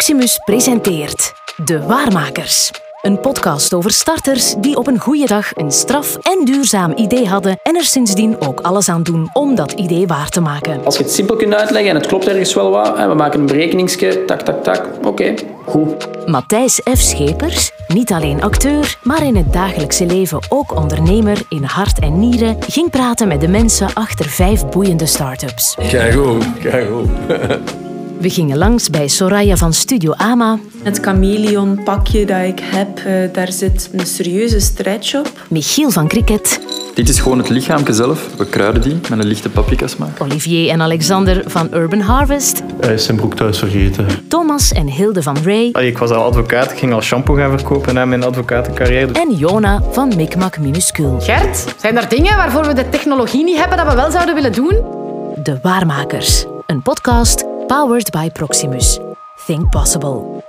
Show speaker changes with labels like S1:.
S1: Maximus presenteert De Waarmakers. Een podcast over starters die op een goede dag een straf en duurzaam idee hadden en er sindsdien ook alles aan doen om dat idee waar te maken.
S2: Als je het simpel kunt uitleggen en het klopt ergens wel wat, hè, we maken een berekeningske, tak, tak, tak, oké, goed.
S1: Matthijs F. Schepers, niet alleen acteur, maar in het dagelijkse leven ook ondernemer in hart en nieren, ging praten met de mensen achter vijf boeiende start-ups.
S3: Keigoed, keigoed.
S1: We gingen langs bij Soraya van Studio Ama,
S4: Het chameleon pakje dat ik heb, eh, daar zit een serieuze stretch op.
S1: Michiel van Cricket,
S5: Dit is gewoon het lichaamje zelf. We kruiden die met een lichte paprikasmaak.
S1: Olivier en Alexander van Urban Harvest,
S6: Hij is zijn broek thuis vergeten.
S1: Thomas en Hilde van Ray
S7: Ik was al advocaat, ik ging al shampoo gaan verkopen na mijn advocatencarrière. dus
S1: en Jona van Micmac Minuscule.
S8: Gert, zijn er dingen waarvoor we de technologie niet hebben dat we wel zouden willen doen?
S1: De Waarmakers, een podcast powered by Proximus. Think Possible.